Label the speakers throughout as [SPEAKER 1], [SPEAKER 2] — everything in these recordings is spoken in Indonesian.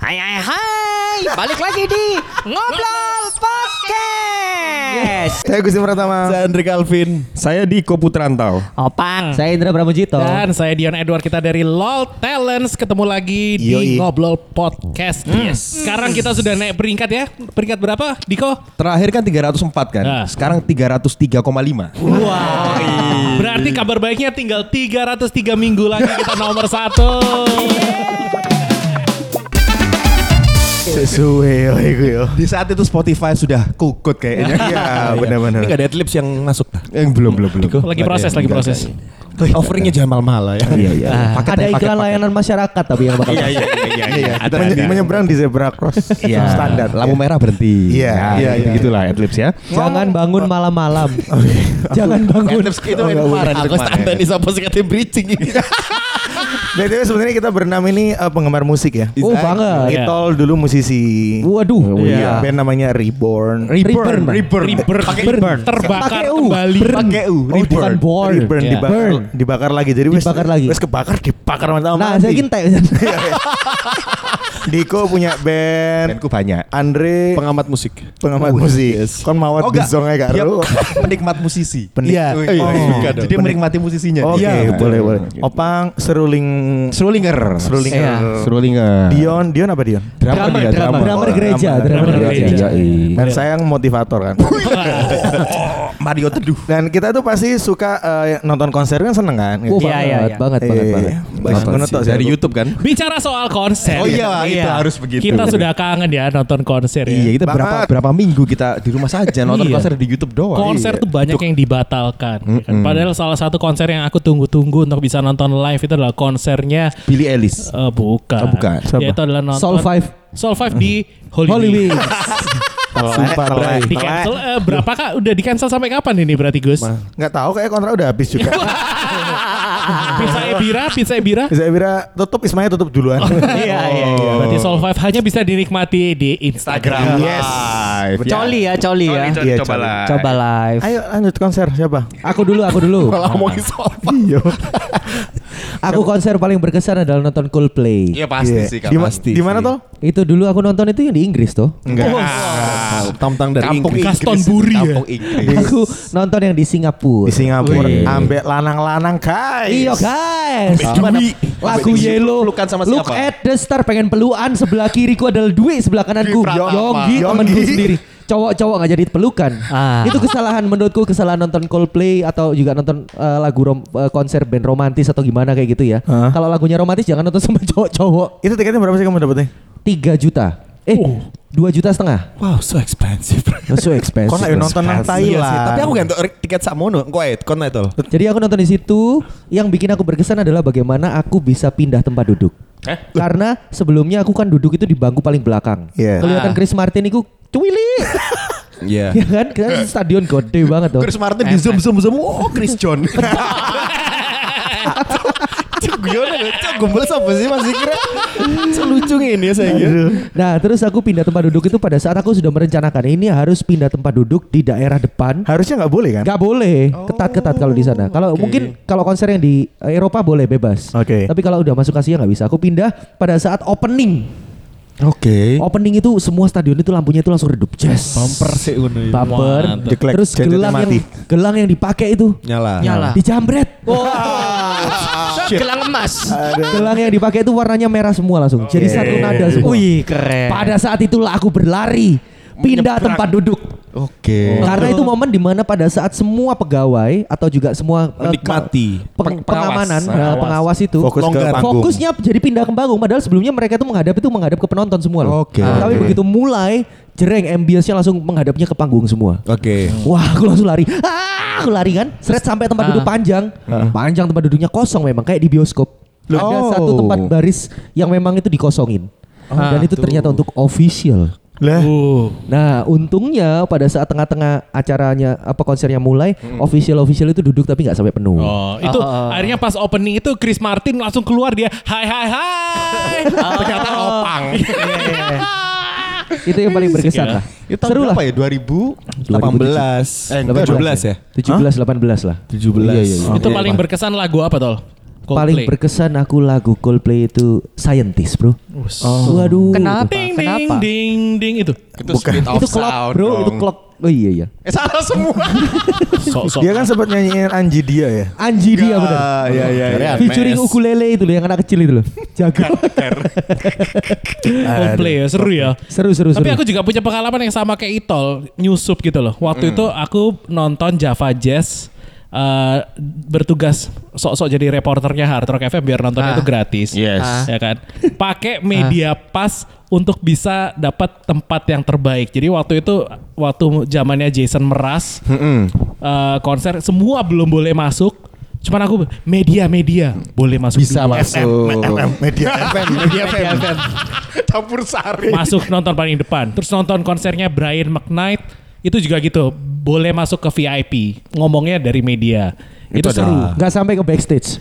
[SPEAKER 1] Hai hai hai Balik lagi di Ngobrol Podcast
[SPEAKER 2] Saya Gusti Pratama.
[SPEAKER 3] Saya Andre Calvin. Saya Diko Putrantau.
[SPEAKER 1] Opang
[SPEAKER 2] Saya Indra Pramujito.
[SPEAKER 4] Dan saya Dion Edward kita dari LOL Talents ketemu lagi di
[SPEAKER 2] Yoi.
[SPEAKER 4] Ngobrol Podcast. Yes. Sekarang kita sudah naik peringkat ya. Peringkat berapa, Diko?
[SPEAKER 3] Terakhir kan 304 kan?
[SPEAKER 4] Nah.
[SPEAKER 3] Sekarang 303,5.
[SPEAKER 4] Berarti kabar baiknya tinggal 303 minggu lagi kita nomor satu.
[SPEAKER 2] Sesuai yo iku yo.
[SPEAKER 3] Di saat itu Spotify sudah kukut kayaknya.
[SPEAKER 2] Iya, benar-benar.
[SPEAKER 5] Ini gak ada adlibs yang masuk
[SPEAKER 3] Eh, belum, belum, belum.
[SPEAKER 4] Lagi proses, lagi proses.
[SPEAKER 5] Offeringnya jangan mal-mal ya
[SPEAKER 3] Iya, iya. Paket aja,
[SPEAKER 6] ada
[SPEAKER 3] paket,
[SPEAKER 6] iklan
[SPEAKER 3] paket.
[SPEAKER 6] layanan masyarakat tapi yang bakal
[SPEAKER 5] iya iya
[SPEAKER 2] Iya, menye- menyeberang di zebra cross
[SPEAKER 3] Iya.
[SPEAKER 2] standar.
[SPEAKER 3] Lampu merah berhenti. Nah,
[SPEAKER 2] Iya, iya, iya. Oh,
[SPEAKER 3] Gitulah adlibs ya.
[SPEAKER 6] jangan bangun malam-malam jangan bangun
[SPEAKER 3] Oh,
[SPEAKER 5] itu
[SPEAKER 3] iya,
[SPEAKER 5] yang kemarin Aku standar nih sama sih katanya bridging
[SPEAKER 2] BTW sebenarnya kita berenam ini eh, penggemar musik ya.
[SPEAKER 5] Iya.
[SPEAKER 6] oh banget
[SPEAKER 2] Itol dulu musisi.
[SPEAKER 6] waduh
[SPEAKER 2] Iya. Band namanya Reborn.
[SPEAKER 6] Reborn.
[SPEAKER 3] Reborn.
[SPEAKER 4] Rebirth, terbakar
[SPEAKER 6] Pakai U.
[SPEAKER 4] kembali.
[SPEAKER 3] Pakai U.
[SPEAKER 6] Oh, bukan born.
[SPEAKER 2] uh, Reborn
[SPEAKER 4] Iya.
[SPEAKER 2] dibakar,
[SPEAKER 6] Burn.
[SPEAKER 2] dibakar lagi. Jadi wes-
[SPEAKER 6] Dibakar lagi.
[SPEAKER 2] Wes kebakar dibakar sama
[SPEAKER 6] nah saya kintai
[SPEAKER 2] Diko punya band.
[SPEAKER 3] Bandku banyak.
[SPEAKER 2] Andre
[SPEAKER 5] Pengamat musik
[SPEAKER 2] pengamat musik. Kon mawat
[SPEAKER 3] Oh, enggak.
[SPEAKER 2] bisonge gak
[SPEAKER 3] Dia
[SPEAKER 5] Iya.
[SPEAKER 2] ru.
[SPEAKER 3] Penikmat musisi.
[SPEAKER 2] Penik-
[SPEAKER 3] Iya.
[SPEAKER 2] Oh,
[SPEAKER 3] Iya,
[SPEAKER 2] iya.
[SPEAKER 3] bukan dong. Jadi menikmati musisinya.
[SPEAKER 2] Oke,
[SPEAKER 3] Iya.
[SPEAKER 2] boleh boleh.
[SPEAKER 3] Gitu.
[SPEAKER 2] Opang seruling
[SPEAKER 3] Serulinger.
[SPEAKER 2] Serulinger.
[SPEAKER 6] Iya.
[SPEAKER 3] Serulinger.
[SPEAKER 2] Dion, Dion apa Dion?
[SPEAKER 5] Iya,
[SPEAKER 6] Drummer,
[SPEAKER 3] dia,
[SPEAKER 6] drummer. Drummer gereja, drummer
[SPEAKER 4] gereja.
[SPEAKER 2] Iya,
[SPEAKER 3] Yoi.
[SPEAKER 2] Dan saya yang motivator kan.
[SPEAKER 3] Mario Teduh.
[SPEAKER 2] Dan kita tuh pasti suka eh, nonton konser kan seneng kan.
[SPEAKER 4] Iya, iya,
[SPEAKER 6] oh, banget,
[SPEAKER 4] iya.
[SPEAKER 6] banget banget
[SPEAKER 2] Iya,
[SPEAKER 6] banget
[SPEAKER 2] iya. Bagus banget tuh, saya
[SPEAKER 5] Dari
[SPEAKER 2] tuh.
[SPEAKER 5] Youtube kan
[SPEAKER 4] Bicara soal konser.
[SPEAKER 3] Oh iya, itu harus begitu.
[SPEAKER 4] Kita sudah kangen ya nonton konser ya.
[SPEAKER 3] Iya, kita
[SPEAKER 2] Banget.
[SPEAKER 3] berapa berapa minggu kita di rumah saja nonton
[SPEAKER 4] Iya.
[SPEAKER 3] konser di YouTube doang. Iya.
[SPEAKER 4] konser tuh banyak yang dibatalkan. ya kan? Padahal salah satu konser yang aku tunggu-tunggu untuk bisa nonton live itu adalah konsernya
[SPEAKER 3] Billy Ellis.
[SPEAKER 4] eh, bukan.
[SPEAKER 3] Oh, bukan.
[SPEAKER 4] Ya, itu adalah nonton
[SPEAKER 6] Soul Five.
[SPEAKER 4] Soul Five di Holy,
[SPEAKER 6] Holy
[SPEAKER 4] Wings.
[SPEAKER 6] Wings.
[SPEAKER 2] Sumpah
[SPEAKER 4] Di- Di cancel eh, berapa kak? Udah di cancel sampai kapan ini berarti Gus?
[SPEAKER 2] Enggak tahu kayak kontrak udah habis juga.
[SPEAKER 4] pizza Ebira, pizza Ebira.
[SPEAKER 2] Bisa Bira tutup Ismaya tutup duluan.
[SPEAKER 6] iya iya
[SPEAKER 4] Oh. Berarti Soul Five hanya bisa dinikmati di Instagram.
[SPEAKER 2] Yes.
[SPEAKER 3] Live.
[SPEAKER 6] coli ya coli ya
[SPEAKER 2] Iya,
[SPEAKER 3] coba
[SPEAKER 2] coli.
[SPEAKER 3] lah.
[SPEAKER 6] coba live
[SPEAKER 2] Ayo lanjut konser siapa?
[SPEAKER 6] aku dulu aku dulu
[SPEAKER 5] ngomongin soal
[SPEAKER 2] Iya.
[SPEAKER 6] aku konser paling berkesan adalah nonton Coldplay
[SPEAKER 5] Iya pasti
[SPEAKER 2] Iya.
[SPEAKER 5] sih Kak
[SPEAKER 2] Di ma-
[SPEAKER 5] pasti
[SPEAKER 2] Di mana tuh?
[SPEAKER 6] itu dulu aku nonton itu yang di Inggris tuh
[SPEAKER 2] Enggak.
[SPEAKER 3] Tang-tang dari
[SPEAKER 5] Kampung
[SPEAKER 3] Inggris.
[SPEAKER 4] Glastonbury ya?
[SPEAKER 3] Kampung Inggris.
[SPEAKER 6] aku nonton yang di Singapura Iya.
[SPEAKER 2] Di Singapura
[SPEAKER 6] Wih.
[SPEAKER 2] ambek lanang-lanang guys.
[SPEAKER 6] Iya guys.
[SPEAKER 3] Gimana?
[SPEAKER 6] Lagu
[SPEAKER 3] Sampai
[SPEAKER 6] Yellow.
[SPEAKER 3] pelukan sama
[SPEAKER 6] Look
[SPEAKER 3] siapa?
[SPEAKER 6] at the star pengen pelukan sebelah kiriku adalah duit sebelah kananku.
[SPEAKER 5] Dwi Pratama.
[SPEAKER 6] Yonggi
[SPEAKER 2] Yonggi.
[SPEAKER 6] temanku sendiri. Cowok-cowok nggak jadi pelukan. Itu kesalahan menurutku kesalahan nonton Coldplay atau juga nonton eh, lagu rom- eh, konser band romantis atau gimana kayak gitu ya.
[SPEAKER 2] Hah?
[SPEAKER 6] Kalau lagunya romantis jangan nonton sama cowok-cowok.
[SPEAKER 2] Itu tiketnya berapa sih kamu dapetnya?
[SPEAKER 6] 3 juta. Eh,
[SPEAKER 4] Oh.
[SPEAKER 6] 2 juta setengah.
[SPEAKER 5] Wow so expensive
[SPEAKER 6] So expensive.
[SPEAKER 2] Kok nggak nonton nang
[SPEAKER 5] Iya sih
[SPEAKER 2] Thailand?
[SPEAKER 5] Tapi aku ganti tiket sakmono Engkau ayo Kon itu
[SPEAKER 6] Jadi aku nonton di situ, yang bikin aku berkesan adalah bagaimana aku bisa pindah tempat duduk. Karena sebelumnya aku kan duduk itu di bangku paling belakang.
[SPEAKER 2] Iya.
[SPEAKER 6] Kelihatan Chris Martin itu cuwili.
[SPEAKER 5] Iya
[SPEAKER 6] ya kan? Kan stadion gede banget tuh.
[SPEAKER 5] Chris Martin di zoom zoom zoom oh Chris John Cuk gimana ya? Cuk gombel apa sih masih kira Selucu ini ya saya kira
[SPEAKER 6] Nah, terus aku pindah tempat duduk itu pada saat aku sudah merencanakan ini harus pindah tempat duduk di daerah depan.
[SPEAKER 2] Harusnya nggak boleh kan?
[SPEAKER 6] Gak boleh, ketat-ketat kalau di sana. Kalau mungkin kalau konser yang di eh, Eropa boleh bebas.
[SPEAKER 2] Oke.
[SPEAKER 6] Tapi kalau udah masuk Asia nggak bisa. Aku pindah pada saat opening.
[SPEAKER 3] Oke.
[SPEAKER 6] Opening itu semua stadion itu lampunya itu langsung redup. Yes.
[SPEAKER 5] Bumper sih Uno
[SPEAKER 6] ya.
[SPEAKER 5] ini.
[SPEAKER 6] bumper,
[SPEAKER 2] Mantap. Jeklek,
[SPEAKER 6] terus
[SPEAKER 2] jentutnya
[SPEAKER 6] gelang yang
[SPEAKER 2] mati.
[SPEAKER 6] gelang yang dipakai itu
[SPEAKER 5] Nyala
[SPEAKER 1] Nyala.
[SPEAKER 6] dijambret.
[SPEAKER 1] Gelang emas
[SPEAKER 6] Gelang yang dipakai itu warnanya merah semua langsung. Jadi satu nada semua.
[SPEAKER 1] Wih keren
[SPEAKER 6] Pada saat itulah aku berlari pindah tempat duduk.
[SPEAKER 3] Oke.
[SPEAKER 6] Karena itu momen dimana pada saat semua pegawai atau juga semua eh,
[SPEAKER 5] Menikmati. Pengawas.
[SPEAKER 6] peng- pengamanan eh,
[SPEAKER 5] Pengawas.
[SPEAKER 6] pengawas itu
[SPEAKER 2] Fokus ke
[SPEAKER 5] Longgar.
[SPEAKER 2] panggung.
[SPEAKER 6] fokusnya jadi pindah ke panggung padahal sebelumnya mereka itu menghadap itu menghadap ke penonton semua loh.
[SPEAKER 3] Oke.
[SPEAKER 6] Tapi
[SPEAKER 3] Oke.
[SPEAKER 6] begitu mulai jereng ambience-nya langsung menghadapnya ke panggung semua.
[SPEAKER 5] Oke
[SPEAKER 6] Wah, aku langsung lari. Ah, aku lari kan. Seret sampai tempat
[SPEAKER 3] Ah.
[SPEAKER 6] duduk panjang. Panjang tempat duduknya kosong memang kayak di bioskop. Ada
[SPEAKER 3] Oh.
[SPEAKER 6] satu tempat baris yang memang itu dikosongin.
[SPEAKER 3] Ah,
[SPEAKER 6] Dan itu ternyata untuk official.
[SPEAKER 2] Lah,
[SPEAKER 4] Uh,
[SPEAKER 6] Nah, untungnya pada saat tengah-tengah acaranya apa konsernya mulai,
[SPEAKER 3] Hmm.
[SPEAKER 6] official-official itu duduk tapi nggak sampai penuh.
[SPEAKER 4] oh, itu akhirnya pas opening itu Chris Martin langsung keluar dia hai hai hai. Iya, Ternyata opang.
[SPEAKER 6] Itu yang paling berkesan lah.
[SPEAKER 3] Iya. Itu tahun
[SPEAKER 6] Seru lah.
[SPEAKER 3] berapa ya? 2018.
[SPEAKER 5] 18 Eh 17 ya
[SPEAKER 6] 17 18 lah.
[SPEAKER 3] 17. Iya, iya, iya.
[SPEAKER 5] iya.
[SPEAKER 4] Itu paling berkesan lagu apa tol?
[SPEAKER 6] paling
[SPEAKER 4] Coldplay.
[SPEAKER 6] berkesan aku lagu Coldplay itu Scientist bro. Oh. Waduh.
[SPEAKER 7] Kenapa?
[SPEAKER 4] Ding ding
[SPEAKER 7] Kenapa?
[SPEAKER 4] ding ding itu.
[SPEAKER 1] Itu split
[SPEAKER 6] Itu clock bro, itu clock. Oh iya iya.
[SPEAKER 1] Eh salah semua.
[SPEAKER 4] Sok-sok.
[SPEAKER 2] Dia kan sempat nyanyiin Anji dia ya.
[SPEAKER 6] Anji dia bener.
[SPEAKER 1] Ah, Iya iya iya.
[SPEAKER 6] Featuring ukulele itu loh yang anak kecil itu loh. Jago.
[SPEAKER 4] Coldplay ya seru ya.
[SPEAKER 6] seru seru
[SPEAKER 4] Tapi
[SPEAKER 6] seru.
[SPEAKER 4] aku juga punya pengalaman yang sama kayak Itol, nyusup gitu loh. Waktu itu aku nonton Java Jazz eh, bertugas sok-sok jadi reporternya Hard Rock FM biar nontonnya itu gratis.
[SPEAKER 1] Yes.
[SPEAKER 4] Ya kan? Pakai media pas untuk bisa dapat tempat yang terbaik. Jadi waktu itu waktu zamannya Jason Meras eh, konser semua belum boleh masuk. Cuman aku media-media boleh masuk.
[SPEAKER 5] Bisa
[SPEAKER 4] dulu.
[SPEAKER 5] masuk.
[SPEAKER 2] Media
[SPEAKER 1] FM, media FM. Campur sari.
[SPEAKER 4] masuk nonton paling depan. Terus nonton konsernya Brian McKnight itu juga gitu, boleh masuk ke VIP. Ngomongnya dari media. Itu, seru.
[SPEAKER 6] Gak sampai ke backstage.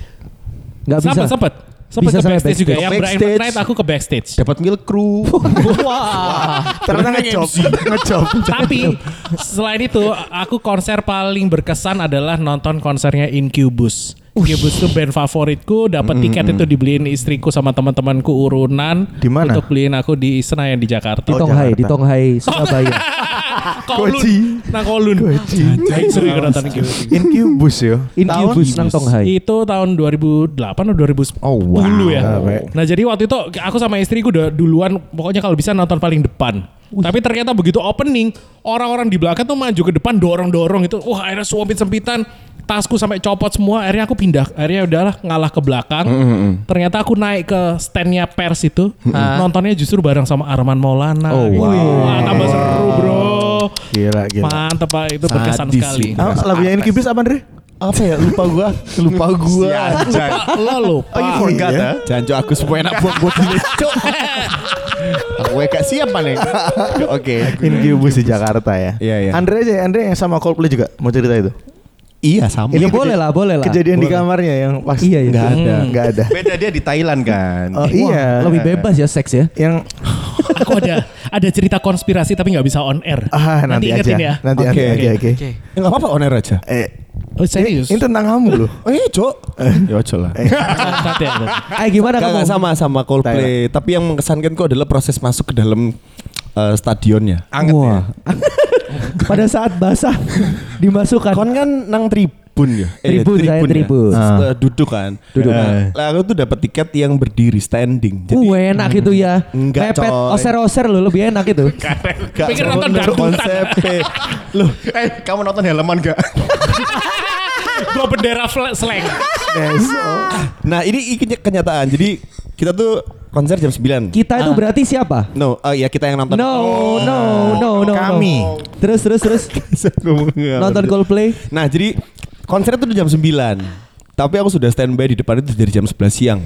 [SPEAKER 6] Gak bisa.
[SPEAKER 4] Sempet sempet sempet ke
[SPEAKER 6] Bisa sampai
[SPEAKER 4] backstage, juga
[SPEAKER 6] backstage.
[SPEAKER 4] ya Brian
[SPEAKER 5] Backstage.
[SPEAKER 4] McKnight aku ke backstage.
[SPEAKER 5] Dapat milk crew.
[SPEAKER 2] Ternyata ngejob, ngejob.
[SPEAKER 4] Tapi selain itu aku konser paling berkesan adalah nonton konsernya Incubus. Incubus tuh band favoritku, dapat tiket itu dibeliin istriku sama teman-temanku urunan
[SPEAKER 2] Di mana?
[SPEAKER 4] untuk beliin aku di Senayan di Oh, Jakarta.
[SPEAKER 6] Di Tonghai, di
[SPEAKER 2] Jakarta.
[SPEAKER 6] Tonghai, Surabaya.
[SPEAKER 4] Kolun,
[SPEAKER 2] Koji.
[SPEAKER 4] nang kolun. Jadi sering aku nonton Incubus.
[SPEAKER 2] Incubus yo.
[SPEAKER 6] Incubus nang Tonghai.
[SPEAKER 4] Itu tahun 2008 atau 2010
[SPEAKER 5] Oh, wow.
[SPEAKER 4] ya. Nah jadi waktu itu aku sama istriku udah duluan pokoknya kalau bisa nonton paling depan. Tapi ternyata begitu opening orang-orang di belakang tuh maju ke depan dorong-dorong itu. Wah akhirnya suapin sempitan tasku sampai copot semua akhirnya aku pindah akhirnya udahlah ngalah ke belakang
[SPEAKER 5] Mm,
[SPEAKER 4] ternyata aku naik ke standnya pers itu Ah. nontonnya justru bareng sama Arman Maulana
[SPEAKER 5] Oh, wow.
[SPEAKER 4] Wah, tambah seru bro
[SPEAKER 2] Gila gila.
[SPEAKER 4] mantep pak itu berkesan
[SPEAKER 5] Sadis
[SPEAKER 4] sekali
[SPEAKER 5] itu.
[SPEAKER 6] Oh,
[SPEAKER 2] Ah, lagunya Incubus apa Andre?
[SPEAKER 1] Apa ya? Lupa gua. Lupa gua.
[SPEAKER 4] lo lupa
[SPEAKER 5] gitu.
[SPEAKER 1] Oh, you forgot
[SPEAKER 2] Iya.
[SPEAKER 1] ya? Janjo aku semua enak buat buat ini. Cok. Aku gak siap Maneng. Oke.
[SPEAKER 2] Incubus di Jakarta ya.
[SPEAKER 5] Iya, iya.
[SPEAKER 2] Andre aja, Andre yang sama Coldplay juga mau cerita itu.
[SPEAKER 5] Iya sama.
[SPEAKER 6] Ya
[SPEAKER 2] Ini
[SPEAKER 6] boleh lah, boleh lah.
[SPEAKER 2] Kejadian di kamarnya yang pas
[SPEAKER 6] Iya, iya.
[SPEAKER 2] nggak ada, nggak ada.
[SPEAKER 1] Beda dia di Thailand kan.
[SPEAKER 2] Oh,
[SPEAKER 6] Wah,
[SPEAKER 2] iya.
[SPEAKER 6] Lebih bebas ya seks ya.
[SPEAKER 2] Yang
[SPEAKER 4] Aku ada ada cerita konspirasi tapi nggak bisa on air.
[SPEAKER 2] ah nanti, aja.
[SPEAKER 4] ingetin ya.
[SPEAKER 2] Nanti
[SPEAKER 5] Oke,
[SPEAKER 2] nanti aja, oke.
[SPEAKER 5] Enggak apa-apa on air aja.
[SPEAKER 2] Eh,
[SPEAKER 4] Oh, serius.
[SPEAKER 2] ini tentang kamu loh.
[SPEAKER 5] Eh, Cok. Ya, Cok lah.
[SPEAKER 4] Santai aja.
[SPEAKER 6] Eh gimana
[SPEAKER 5] Gak,
[SPEAKER 6] kamu?
[SPEAKER 5] gak sama sama Coldplay, tapi yang mengesankan kok adalah proses masuk ke dalam eh, stadionnya.
[SPEAKER 1] Anget ya.
[SPEAKER 6] Wah. Pada saat basah dimasukkan.
[SPEAKER 5] Kon kan nang tribun ya.
[SPEAKER 6] Tribun, saya
[SPEAKER 5] ya.
[SPEAKER 6] tribun.
[SPEAKER 5] Eh, Duduk kan.
[SPEAKER 6] Duduk.
[SPEAKER 1] Eh.
[SPEAKER 5] Nah, lah aku tuh dapat tiket yang berdiri standing. Jadi
[SPEAKER 6] Uh, enak itu ya.
[SPEAKER 5] Enggak,
[SPEAKER 6] Mepet
[SPEAKER 5] coy.
[SPEAKER 6] oser-oser loh lebih enak itu.
[SPEAKER 1] Gak
[SPEAKER 4] Pikir
[SPEAKER 1] seru
[SPEAKER 4] nonton
[SPEAKER 1] untuk
[SPEAKER 4] dangdutan.
[SPEAKER 1] konsepnya. Loh, eh kamu nonton Helman gak?
[SPEAKER 4] Gua bendera fla- slang.
[SPEAKER 2] Iya,
[SPEAKER 5] Nah, ini, ini kenyataan. Jadi kita tuh konser jam 9.
[SPEAKER 6] Kita itu berarti siapa?
[SPEAKER 5] No, eh, ya kita yang nonton.
[SPEAKER 6] No, no, no, no. no.
[SPEAKER 2] Kami.
[SPEAKER 6] Terus terus terus nonton Coldplay.
[SPEAKER 5] Nah, jadi konser itu jam 9. Tapi aku sudah standby di depan itu dari jam 11 siang.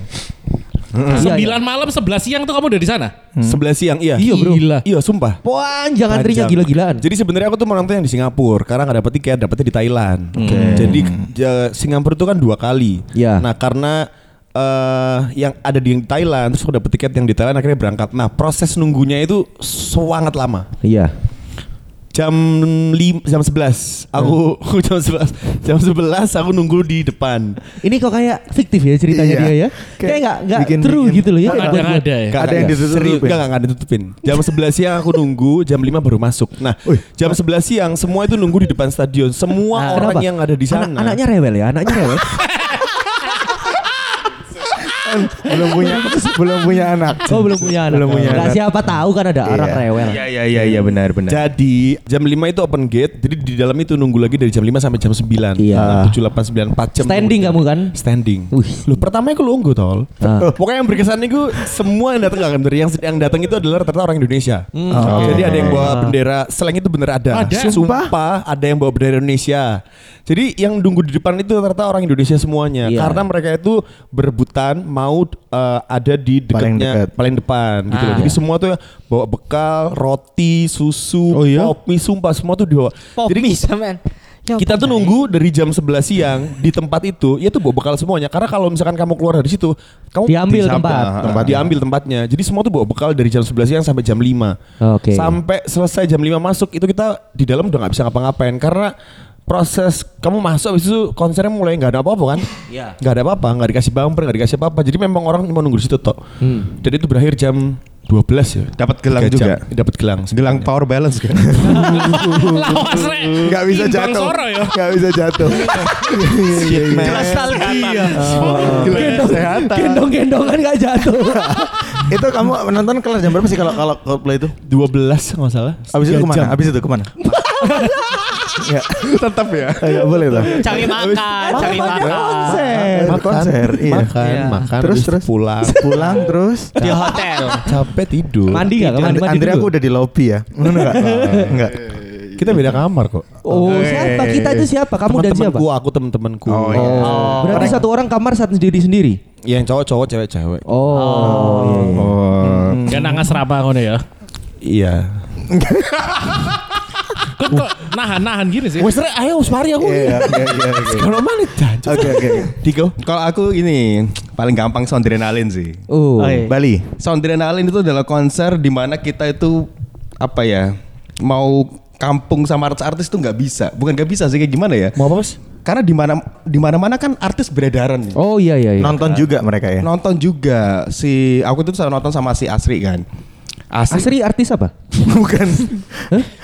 [SPEAKER 6] Iya,
[SPEAKER 4] 9
[SPEAKER 6] iya.
[SPEAKER 4] malam 11 siang tuh kamu udah di sana.
[SPEAKER 5] 11 siang, iya.
[SPEAKER 6] Iya, bro.
[SPEAKER 5] Gila. Iya, sumpah.
[SPEAKER 6] Panjang antrinya
[SPEAKER 5] Panjang.
[SPEAKER 6] gila-gilaan.
[SPEAKER 5] Jadi sebenarnya aku tuh mau nonton yang di Singapura karena nggak dapet tiket, dapetnya di Thailand. Jadi ja- Singapura itu kan dua kali.
[SPEAKER 6] Iya.
[SPEAKER 5] Nah karena eh yang ada di Thailand terus aku dapet tiket yang di Thailand akhirnya berangkat. Nah proses nunggunya itu sangat lama.
[SPEAKER 6] Iya.
[SPEAKER 5] Jam lim, jam 11 aku jam 11 jam 11 aku nunggu di depan.
[SPEAKER 6] Ini kok kayak fiktif ya ceritanya
[SPEAKER 2] Iya.
[SPEAKER 6] dia ya.
[SPEAKER 2] Kayak
[SPEAKER 6] Kayak nggak nggak
[SPEAKER 2] bikin-
[SPEAKER 6] true
[SPEAKER 2] bikin-
[SPEAKER 6] gitu loh ya.
[SPEAKER 4] Nggak
[SPEAKER 2] iya.
[SPEAKER 6] Buat-
[SPEAKER 4] ada- ada ya?
[SPEAKER 5] Nggak,
[SPEAKER 2] Ada
[SPEAKER 5] nggak,
[SPEAKER 2] yang
[SPEAKER 5] nggak.
[SPEAKER 2] ditutupin?
[SPEAKER 5] Serius, nggak, nggak, nggak ditutupin. Jam 11 siang aku nunggu, jam 5 baru masuk. Nah, jam 11 siang semua itu nunggu di depan stadion. Semua
[SPEAKER 6] Nah,
[SPEAKER 5] orang
[SPEAKER 6] kenapa?
[SPEAKER 5] yang ada di sana.
[SPEAKER 6] Anak- anaknya rewel ya, anaknya rewel.
[SPEAKER 2] belum punya belum punya anak.
[SPEAKER 6] Oh belum punya anak.
[SPEAKER 2] Belum punya
[SPEAKER 6] Nggak,
[SPEAKER 2] anak.
[SPEAKER 6] siapa tahu kan ada orang rewel.
[SPEAKER 1] iya iya iya benar benar.
[SPEAKER 5] Jadi jam 5 itu open gate, jadi di dalam itu nunggu lagi dari jam 5 sampai jam 9. Nah,
[SPEAKER 6] Iya.
[SPEAKER 5] 7, 8, 9, 4 jam.
[SPEAKER 6] Standing
[SPEAKER 5] nunggu.
[SPEAKER 6] kamu kan?
[SPEAKER 5] Standing.
[SPEAKER 6] Wih.
[SPEAKER 5] Loh pertama aku nunggu tol.
[SPEAKER 6] Ah.
[SPEAKER 5] Eh, Pokoknya yang berkesan itu semua yang datang nggak akan bener. yang yang datang itu adalah ternyata orang Indonesia.
[SPEAKER 6] Hmm.
[SPEAKER 5] Ah, Jadi ada yang
[SPEAKER 6] Ah.
[SPEAKER 5] bawa bendera, selain itu bener ada.
[SPEAKER 4] Ada?
[SPEAKER 5] Sumpah ada yang bawa bendera Indonesia. Jadi yang nunggu di depan itu ternyata orang Indonesia semuanya.
[SPEAKER 6] Iya.
[SPEAKER 5] Karena mereka itu berebutan mau eh, ada di
[SPEAKER 2] Paling
[SPEAKER 5] dekatnya
[SPEAKER 2] dekat.
[SPEAKER 5] paling depan gitu
[SPEAKER 6] Ah.
[SPEAKER 5] loh. Jadi semua tuh bawa bekal, roti, susu,
[SPEAKER 1] Oh iya?
[SPEAKER 5] pop mie, sumpah semua tuh dibawa.
[SPEAKER 7] Pop
[SPEAKER 5] Jadi
[SPEAKER 7] mie sama
[SPEAKER 6] Iya,
[SPEAKER 5] kita tuh nunggu dari jam 11 siang di tempat itu, ya tuh bawa bekal semuanya. Karena kalau misalkan kamu keluar dari situ, kamu
[SPEAKER 6] Diambil
[SPEAKER 5] disabda.
[SPEAKER 6] tempat.
[SPEAKER 5] Tempat diambil tempatnya. Jadi semua tuh bawa bekal dari jam 11 siang sampai jam 5.
[SPEAKER 6] Oke.
[SPEAKER 5] Sampai selesai jam 5 masuk itu kita di dalam udah nggak bisa ngapa-ngapain karena
[SPEAKER 3] proses kamu masuk habis itu konsernya mulai nggak ada apa-apa kan? Iya. Nggak ada apa-apa, nggak dikasih bumper, nggak dikasih apa-apa. Jadi memang orang cuma nunggu di situ tok.
[SPEAKER 6] Hmm.
[SPEAKER 3] Dan itu berakhir jam 12 ya.
[SPEAKER 5] Dapat gelang
[SPEAKER 3] 3 jam.
[SPEAKER 5] juga.
[SPEAKER 3] Dapat gelang.
[SPEAKER 5] Gelang power balance kan.
[SPEAKER 4] Lawas rek.
[SPEAKER 2] Gak bisa
[SPEAKER 4] Timbang
[SPEAKER 2] jatuh.
[SPEAKER 4] Soro ya.
[SPEAKER 2] Gak bisa jatuh.
[SPEAKER 1] Nostalgia.
[SPEAKER 5] Oh. Kesehatan.
[SPEAKER 6] Gendong-gendongan gak jatuh.
[SPEAKER 2] itu kamu nonton kelas jam berapa sih kalau kalau Coldplay itu?
[SPEAKER 3] 12 nggak salah.
[SPEAKER 2] Abis itu
[SPEAKER 3] Tiga
[SPEAKER 2] kemana?
[SPEAKER 3] jam.
[SPEAKER 2] Abis itu kemana?
[SPEAKER 5] Tetap ya.
[SPEAKER 2] Gak boleh lah.
[SPEAKER 1] Cari makan, cari makan.
[SPEAKER 2] Konser.
[SPEAKER 3] Makan,
[SPEAKER 2] Konser. Iya.
[SPEAKER 3] makan,
[SPEAKER 1] Iya.
[SPEAKER 3] makan,
[SPEAKER 2] Terus,
[SPEAKER 3] habis itu
[SPEAKER 2] terus.
[SPEAKER 3] pulang.
[SPEAKER 2] Pulang terus.
[SPEAKER 1] Di hotel.
[SPEAKER 3] Capek tidur.
[SPEAKER 6] Mandi gak? Mandi, mandi
[SPEAKER 2] Andre aku
[SPEAKER 6] dulu.
[SPEAKER 2] udah di lobby ya. Enggak. Enggak.
[SPEAKER 3] Kita beda kamar kok.
[SPEAKER 6] Oh siapa? Kita itu siapa? Kamu dan siapa?
[SPEAKER 3] Temen-temenku, aku temen-temenku.
[SPEAKER 5] Oh, iya.
[SPEAKER 6] Oh. Berarti satu orang kamar satu sendiri-sendiri?
[SPEAKER 3] Yang cowok-cowok, cewek-cewek.
[SPEAKER 6] Oh.
[SPEAKER 5] Oh.
[SPEAKER 2] Hmm.
[SPEAKER 4] Gak nangas raba ngono ya.
[SPEAKER 3] Iya.
[SPEAKER 4] Kok kok nahan-nahan gini sih?
[SPEAKER 3] Wes rek, ayo mari aku.
[SPEAKER 2] Iya, iya, iya, iya.
[SPEAKER 3] Kalau mana dan?
[SPEAKER 2] Oke, oke. oke.
[SPEAKER 5] Diko, kalau aku ini paling gampang soundrenalin sih.
[SPEAKER 6] Oh.
[SPEAKER 2] Bali.
[SPEAKER 5] Soundrenalin itu adalah konser di mana kita itu apa ya mau kampung sama artis-artis itu nggak bisa, bukan nggak bisa sih kayak gimana ya?
[SPEAKER 3] Mau apa, Mas?
[SPEAKER 5] Karena di mana di mana mana kan artis beredaran nih.
[SPEAKER 6] Oh iya iya iya.
[SPEAKER 2] Nonton juga mereka ya.
[SPEAKER 5] Nonton juga si aku tuh selalu nonton sama si Asri kan. Asri,
[SPEAKER 6] Asri artis apa?
[SPEAKER 5] bukan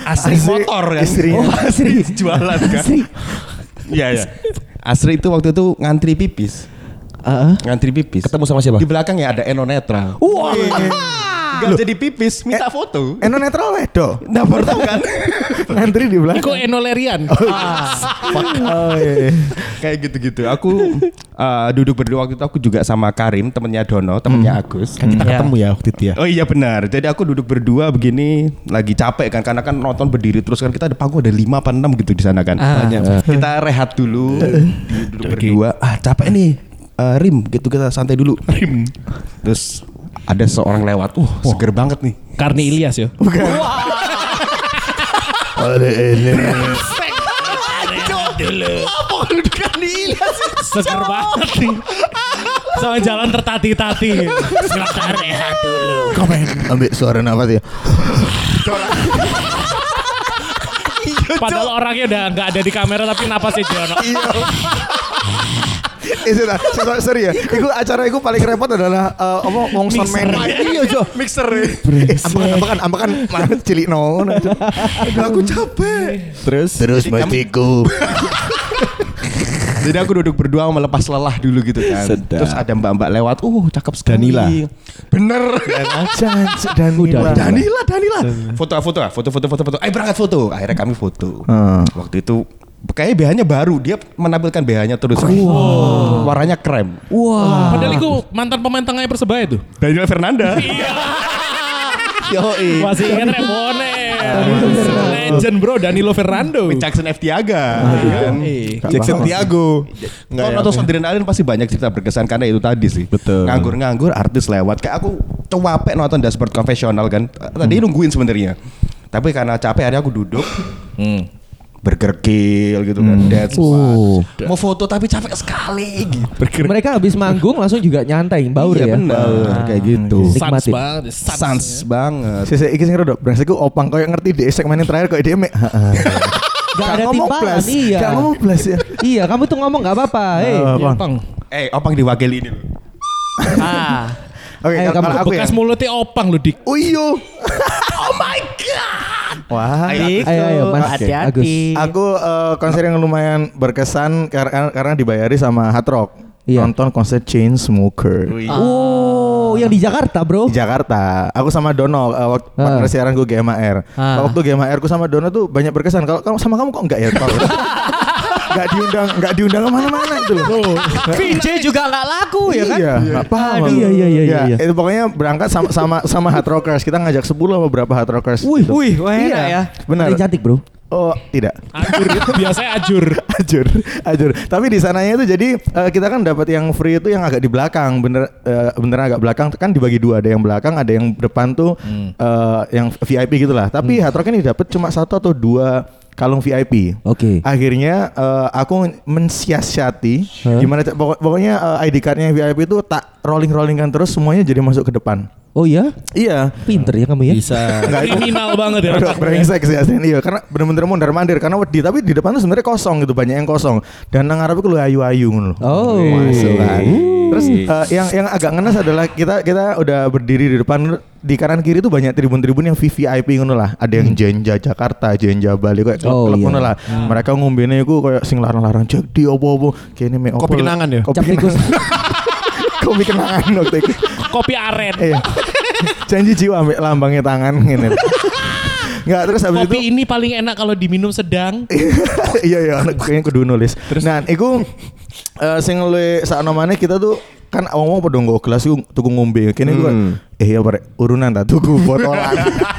[SPEAKER 5] Asri, motor kan?
[SPEAKER 2] istrinya.
[SPEAKER 5] Oh, Asri jualan kan?
[SPEAKER 6] Asri.
[SPEAKER 5] Iya ya. Asri itu waktu itu ngantri pipis,
[SPEAKER 6] Heeh.
[SPEAKER 5] ngantri pipis.
[SPEAKER 3] Ketemu sama siapa?
[SPEAKER 5] Di belakang ya ada Iya. Eno Netral.
[SPEAKER 2] Wah.
[SPEAKER 5] Gak jadi pipis, minta foto.
[SPEAKER 2] Eno netral wedo.
[SPEAKER 5] Eh, Nah, baru tahu kan?
[SPEAKER 2] Ngantri di
[SPEAKER 4] Iko
[SPEAKER 2] belakang.
[SPEAKER 4] enolerian.
[SPEAKER 2] Oh iya. iya.
[SPEAKER 5] Kayak gitu-gitu. Aku eh, duduk berdua waktu itu aku juga sama Karim, temennya Dono, temennya Agus.
[SPEAKER 3] Hmm. Kita ketemu ya waktu itu ya.
[SPEAKER 5] Oh iya benar. Jadi aku duduk berdua begini lagi capek kan karena kan nonton berdiri terus kan kita ada panggung ada 5 apa 6 gitu di sana kan.
[SPEAKER 3] Ah.
[SPEAKER 5] Banyak. Kita rehat dulu di- duduk berdua. Ah capek nih. Eh, rim gitu kita santai dulu. Rim. Terus ada seorang lewat. Uh, seger banget nih.
[SPEAKER 4] Karni Ilyas ya. Seger banget nih. Sama jalan tertati-tati. Silakan rehat dulu.
[SPEAKER 2] Ambil suara nafas ya.
[SPEAKER 4] Padahal orangnya udah nggak ada di kamera tapi napasnya Jono.
[SPEAKER 2] Eh, sudah, sudah, sorry ya. Iku acara iku paling repot adalah eh, apa wong son men. Iya, Jo.
[SPEAKER 5] Mixer.
[SPEAKER 2] Ambekan, ambekan, ambekan. Mana cilik no. no, Jo.
[SPEAKER 5] Aduh, aku capek.
[SPEAKER 3] Terus
[SPEAKER 2] Terus matiku.
[SPEAKER 5] Jadi aku duduk berdua melepas lelah dulu gitu kan.
[SPEAKER 3] Sedap.
[SPEAKER 5] Terus ada mbak-mbak lewat. Uh, cakep sekali.
[SPEAKER 3] Danila.
[SPEAKER 5] Bener.
[SPEAKER 2] Janji dan
[SPEAKER 6] Udah.
[SPEAKER 5] Danila, Danila. Foto-foto ah, foto-foto foto-foto. Ayo berangkat foto. Akhirnya kami foto.
[SPEAKER 2] Hmm.
[SPEAKER 5] Waktu itu kayaknya BH-nya baru. Dia menampilkan BH-nya terus. Warnanya krem.
[SPEAKER 6] Wah.
[SPEAKER 4] Padahal itu mantan pemain tengahnya Persebaya tuh.
[SPEAKER 5] Daniel Fernanda. Yoi.
[SPEAKER 4] Masih ingat Kan Rebone. Legend bro Danilo Fernando.
[SPEAKER 5] Jackson F. ya Tiaga.
[SPEAKER 4] Iya.
[SPEAKER 3] Jackson Tiago.
[SPEAKER 5] Enggak Kalau nonton Sondrin Alin pasti banyak cerita berkesan karena itu tadi sih.
[SPEAKER 3] Betul.
[SPEAKER 5] Nganggur-nganggur artis lewat. Kayak aku capek nonton Dashboard Confessional kan. Tadi nungguin sebenarnya. Tapi karena capek akhirnya aku duduk. Bergergil gitu kan. That's
[SPEAKER 6] Oh.
[SPEAKER 5] fun. Mau foto tapi capek sekali gitu. Bergergil.
[SPEAKER 6] Mereka habis manggung langsung juga nyantai, baur
[SPEAKER 5] Iya
[SPEAKER 6] ya.
[SPEAKER 5] benar. Kayak gitu.
[SPEAKER 6] Nikmatin.
[SPEAKER 4] Sans banget. iya, Sans.
[SPEAKER 5] Sans banget.
[SPEAKER 2] Sisa iki sing rodok brengsek ku opang koyo ngerti di segmen yang terakhir koyo dia mek.
[SPEAKER 6] Gak ada
[SPEAKER 2] ngomong
[SPEAKER 6] timbangan,
[SPEAKER 2] plus.
[SPEAKER 6] iya.
[SPEAKER 2] Gak ngomong plus ya.
[SPEAKER 6] Iya, kamu tuh ngomong gak apa-apa. Hei.
[SPEAKER 2] Bang.
[SPEAKER 4] Bang.
[SPEAKER 5] Eh, opang diwakili ini loh.
[SPEAKER 1] Ah.
[SPEAKER 2] Oke,
[SPEAKER 6] Ayo,
[SPEAKER 2] kalau
[SPEAKER 6] kamu
[SPEAKER 2] aku ya.
[SPEAKER 4] Bekas mulutnya opang lu dik.
[SPEAKER 2] Uyu. oh my god. Wah.
[SPEAKER 6] Ayo ayo Mas Agus.
[SPEAKER 1] Hati-hati.
[SPEAKER 2] Aku eh, konser yang lumayan berkesan karena karena dibayari sama Hard Rock.
[SPEAKER 6] Iya.
[SPEAKER 2] Nonton konser Chainsmokers
[SPEAKER 6] Oh, yang di Jakarta, Bro.
[SPEAKER 2] di Jakarta. Aku sama Dono eh, waktu
[SPEAKER 6] Ah.
[SPEAKER 2] partner siaran gue GMR.
[SPEAKER 1] Ah.
[SPEAKER 2] Waktu GMR ku sama Dono tuh banyak berkesan. Kalau kalau sama kamu kok enggak ya? Enggak diundang, enggak diundang kemana-mana gitu loh.
[SPEAKER 1] Vince juga nggak laku ya kan?
[SPEAKER 2] Iya, nggak paham.
[SPEAKER 6] Aduh. Oh, Iya, iya, iya,
[SPEAKER 2] Ya,
[SPEAKER 6] iya.
[SPEAKER 2] Itu pokoknya berangkat sama sama sama hard rockers. Kita ngajak 10 apa berapa hard rockers.
[SPEAKER 6] Wih,
[SPEAKER 2] gitu.
[SPEAKER 1] Wih, wah enak ya.
[SPEAKER 2] Benar.
[SPEAKER 6] Ada yang cantik, Bro.
[SPEAKER 2] Oh, tidak.
[SPEAKER 4] Ajur. Biasanya ajur.
[SPEAKER 2] Ajur, ajur. Tapi di sananya itu jadi eh, kita kan dapat yang free itu yang agak di belakang, bener eh, bener agak belakang kan dibagi dua, ada yang belakang, ada yang depan tuh
[SPEAKER 6] Hmm.
[SPEAKER 2] eh, yang VIP gitulah. Tapi hard rock ini dapat cuma satu atau dua kalung VIP.
[SPEAKER 6] Oke.
[SPEAKER 2] Akhirnya eh, aku mensiasati gimana ca- pokok- pokoknya eh, ID cardnya VIP itu tak rolling rollingkan terus semuanya jadi masuk ke depan.
[SPEAKER 6] Oh iya?
[SPEAKER 2] Iya.
[SPEAKER 6] Pinter ya kamu ya?
[SPEAKER 3] Bisa.
[SPEAKER 4] Kriminal banget ya.
[SPEAKER 2] Aduh, brengsek sih aslinya iya karena bener-bener mondar mandir karena wedi tapi di depan tuh sebenarnya kosong gitu banyak yang kosong dan nang Arab itu lu ayu-ayu ngono lho.
[SPEAKER 6] Oh.
[SPEAKER 2] Masuk kan. Terus eh, yang yang agak ngenes adalah kita kita udah berdiri di depan di kanan kiri tuh banyak tribun-tribun yang VVIP ngono lah. Ada yang Jenja Jakarta, Jenja Bali kayak klub,
[SPEAKER 6] Hmm. Oh,
[SPEAKER 2] klub
[SPEAKER 6] iya.
[SPEAKER 2] ngono lah.
[SPEAKER 3] Ah.
[SPEAKER 2] Mereka ngombene iku kayak sing larang-larang cek di opo-opo. Kene me opo.
[SPEAKER 3] Kopi kenangan ya?
[SPEAKER 2] Kopi
[SPEAKER 6] Cap tikus.
[SPEAKER 2] kenangan. Kopi kenangan waktu itu.
[SPEAKER 4] Kopi aren.
[SPEAKER 2] Iya. Janji jiwa ambek lambangnya tangan ngene. Enggak terus habis itu
[SPEAKER 4] Kopi ini paling enak kalau diminum sedang.
[SPEAKER 2] iya iya anak kayaknya kudu nulis nah iku eh, sing le saknomane kita tuh kan awang-awang padha nggo gelas iku tuku ngombe kene gua eh ya pare urunan tak tuku botolan